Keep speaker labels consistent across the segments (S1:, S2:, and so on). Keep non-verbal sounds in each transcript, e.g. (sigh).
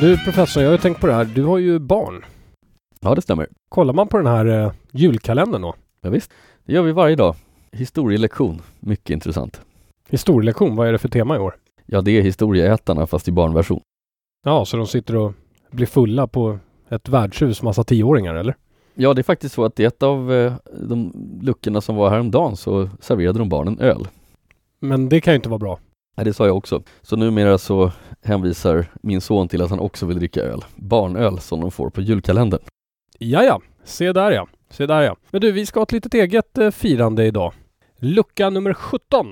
S1: Du professor, jag har ju tänkt på det här. Du har ju barn.
S2: Ja, det stämmer.
S1: Kollar man på den här eh, julkalendern då?
S2: Ja, visst. Det gör vi varje dag. Historielektion. Mycket intressant.
S1: Historielektion, vad är det för tema i år?
S2: Ja, det är historieätarna fast i barnversion.
S1: Ja, så de sitter och blir fulla på ett värdshus, massa tioåringar eller?
S2: Ja, det är faktiskt så att i ett av eh, de luckorna som var häromdagen så serverade de barnen öl.
S1: Men det kan ju inte vara bra.
S2: Ja, det sa jag också. Så numera så hänvisar min son till att han också vill dricka öl. Barnöl som de får på julkalendern.
S1: Ja, ja. Se där ja. Se där ja. Men du, vi ska ha ett litet eget eh, firande idag. Lucka nummer 17.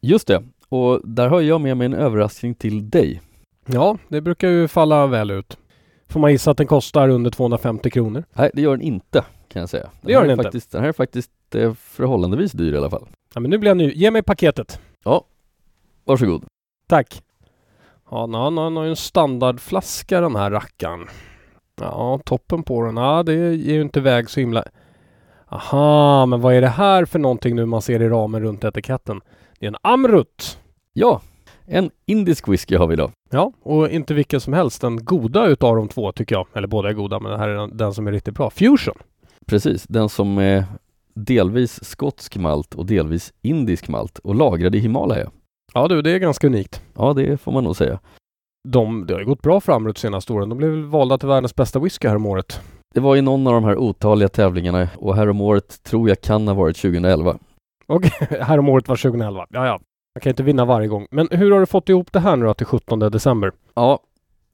S2: Just det. Och där har jag med mig en överraskning till dig.
S1: Ja, det brukar ju falla väl ut. Får man gissa att den kostar under 250 kronor?
S2: Nej, det gör den inte kan jag säga. Den
S1: Det gör
S2: här
S1: den
S2: är
S1: inte.
S2: Faktiskt, den här är faktiskt eh, förhållandevis dyr i alla fall.
S1: Ja, men nu blir jag ny. Ge mig paketet.
S2: Varsågod.
S1: Tack. Ja, nå, nå, han har ju en standardflaska den här rackaren. Ja, toppen på den. Ja, det ger ju inte iväg så himla... Aha, men vad är det här för någonting nu man ser i ramen runt etiketten? Det är en Amrut.
S2: Ja, en indisk whisky har vi idag.
S1: Ja, och inte vilken som helst. Den goda utav de två tycker jag. Eller båda är goda, men det här är den, den som är riktigt bra. Fusion.
S2: Precis, den som är delvis skotsk malt och delvis indisk malt och lagrad i Himalaya.
S1: Ja du, det är ganska unikt.
S2: Ja, det får man nog säga.
S1: De, det har ju gått bra för Amrut senaste åren. De blev väl valda till världens bästa whisky här om året.
S2: Det var i någon av de här otaliga tävlingarna och häromåret tror jag kan ha varit 2011.
S1: här om året var 2011. Ja, ja. Man kan inte vinna varje gång. Men hur har du fått ihop det här nu då till 17 december?
S2: Ja,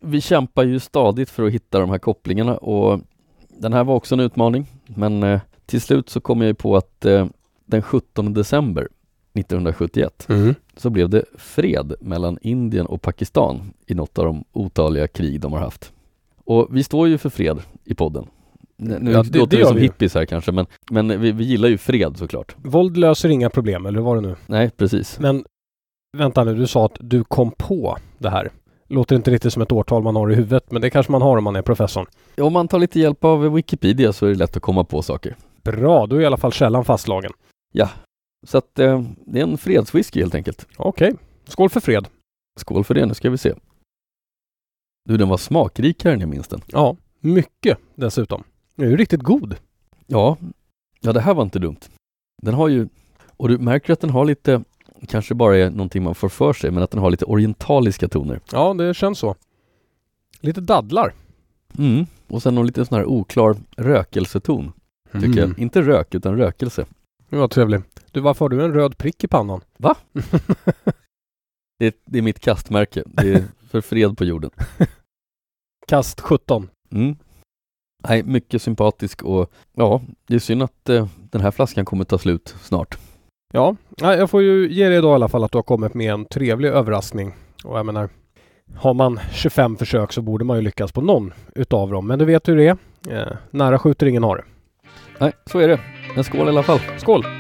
S2: vi kämpar ju stadigt för att hitta de här kopplingarna och den här var också en utmaning. Men eh, till slut så kom jag ju på att eh, den 17 december 1971 så blev det fred mellan Indien och Pakistan i något av de otaliga krig de har haft. Och vi står ju för fred i podden. N- Nu
S1: Ja, det- det
S2: låter vi
S1: gör
S2: som
S1: vi ju.
S2: hippies här kanske, men, men vi, vi gillar ju fred såklart.
S1: Våld löser inga problem, eller vad var det nu?
S2: Nej, precis.
S1: Men vänta nu, du sa att du kom på det här. Låter inte riktigt som ett årtal man har i huvudet, men det kanske man har om man är professorn.
S2: Om man tar lite hjälp av Wikipedia så är det lätt att komma på saker.
S1: Bra, då är i alla fall källan fastslagen.
S2: Så att eh, det är en fredswhisky helt enkelt.
S1: Okej, skål för fred.
S2: Skål för det, nu ska vi se. Du, den var smakrikare än jag minns den.
S1: Ja, mycket dessutom. Den är ju riktigt god.
S2: Ja, ja det här var inte dumt. Den har ju, och du märker att den har lite, kanske bara är någonting man får för sig, men att den har lite orientaliska toner.
S1: Ja, det känns så. Lite daddlar.
S2: Mm. Och sen någon liten sån här oklar rökelseton, tycker jag. Inte rök, utan rökelse.
S1: Det var trevligt. Mm, Du, varför har du en röd prick i pannan? (laughs)
S2: Va? Det är, det är mitt kastmärke. Det (laughs) är för fred på jorden.
S1: (laughs) Kast 17.
S2: Mm. Nej, mycket sympatisk och ja, det är synd att eh, den här flaskan kommer ta slut snart.
S1: Ja, nej, jag får ju ge dig idag i alla fall att du har kommit med en trevlig överraskning. Och jag menar, har man 25 försök så borde man ju lyckas på någon utav dem. Men du vet hur det är. Eh, nära skjuter ingen har det.
S2: Nej, så är det. Men skål i alla fall.
S1: Skål!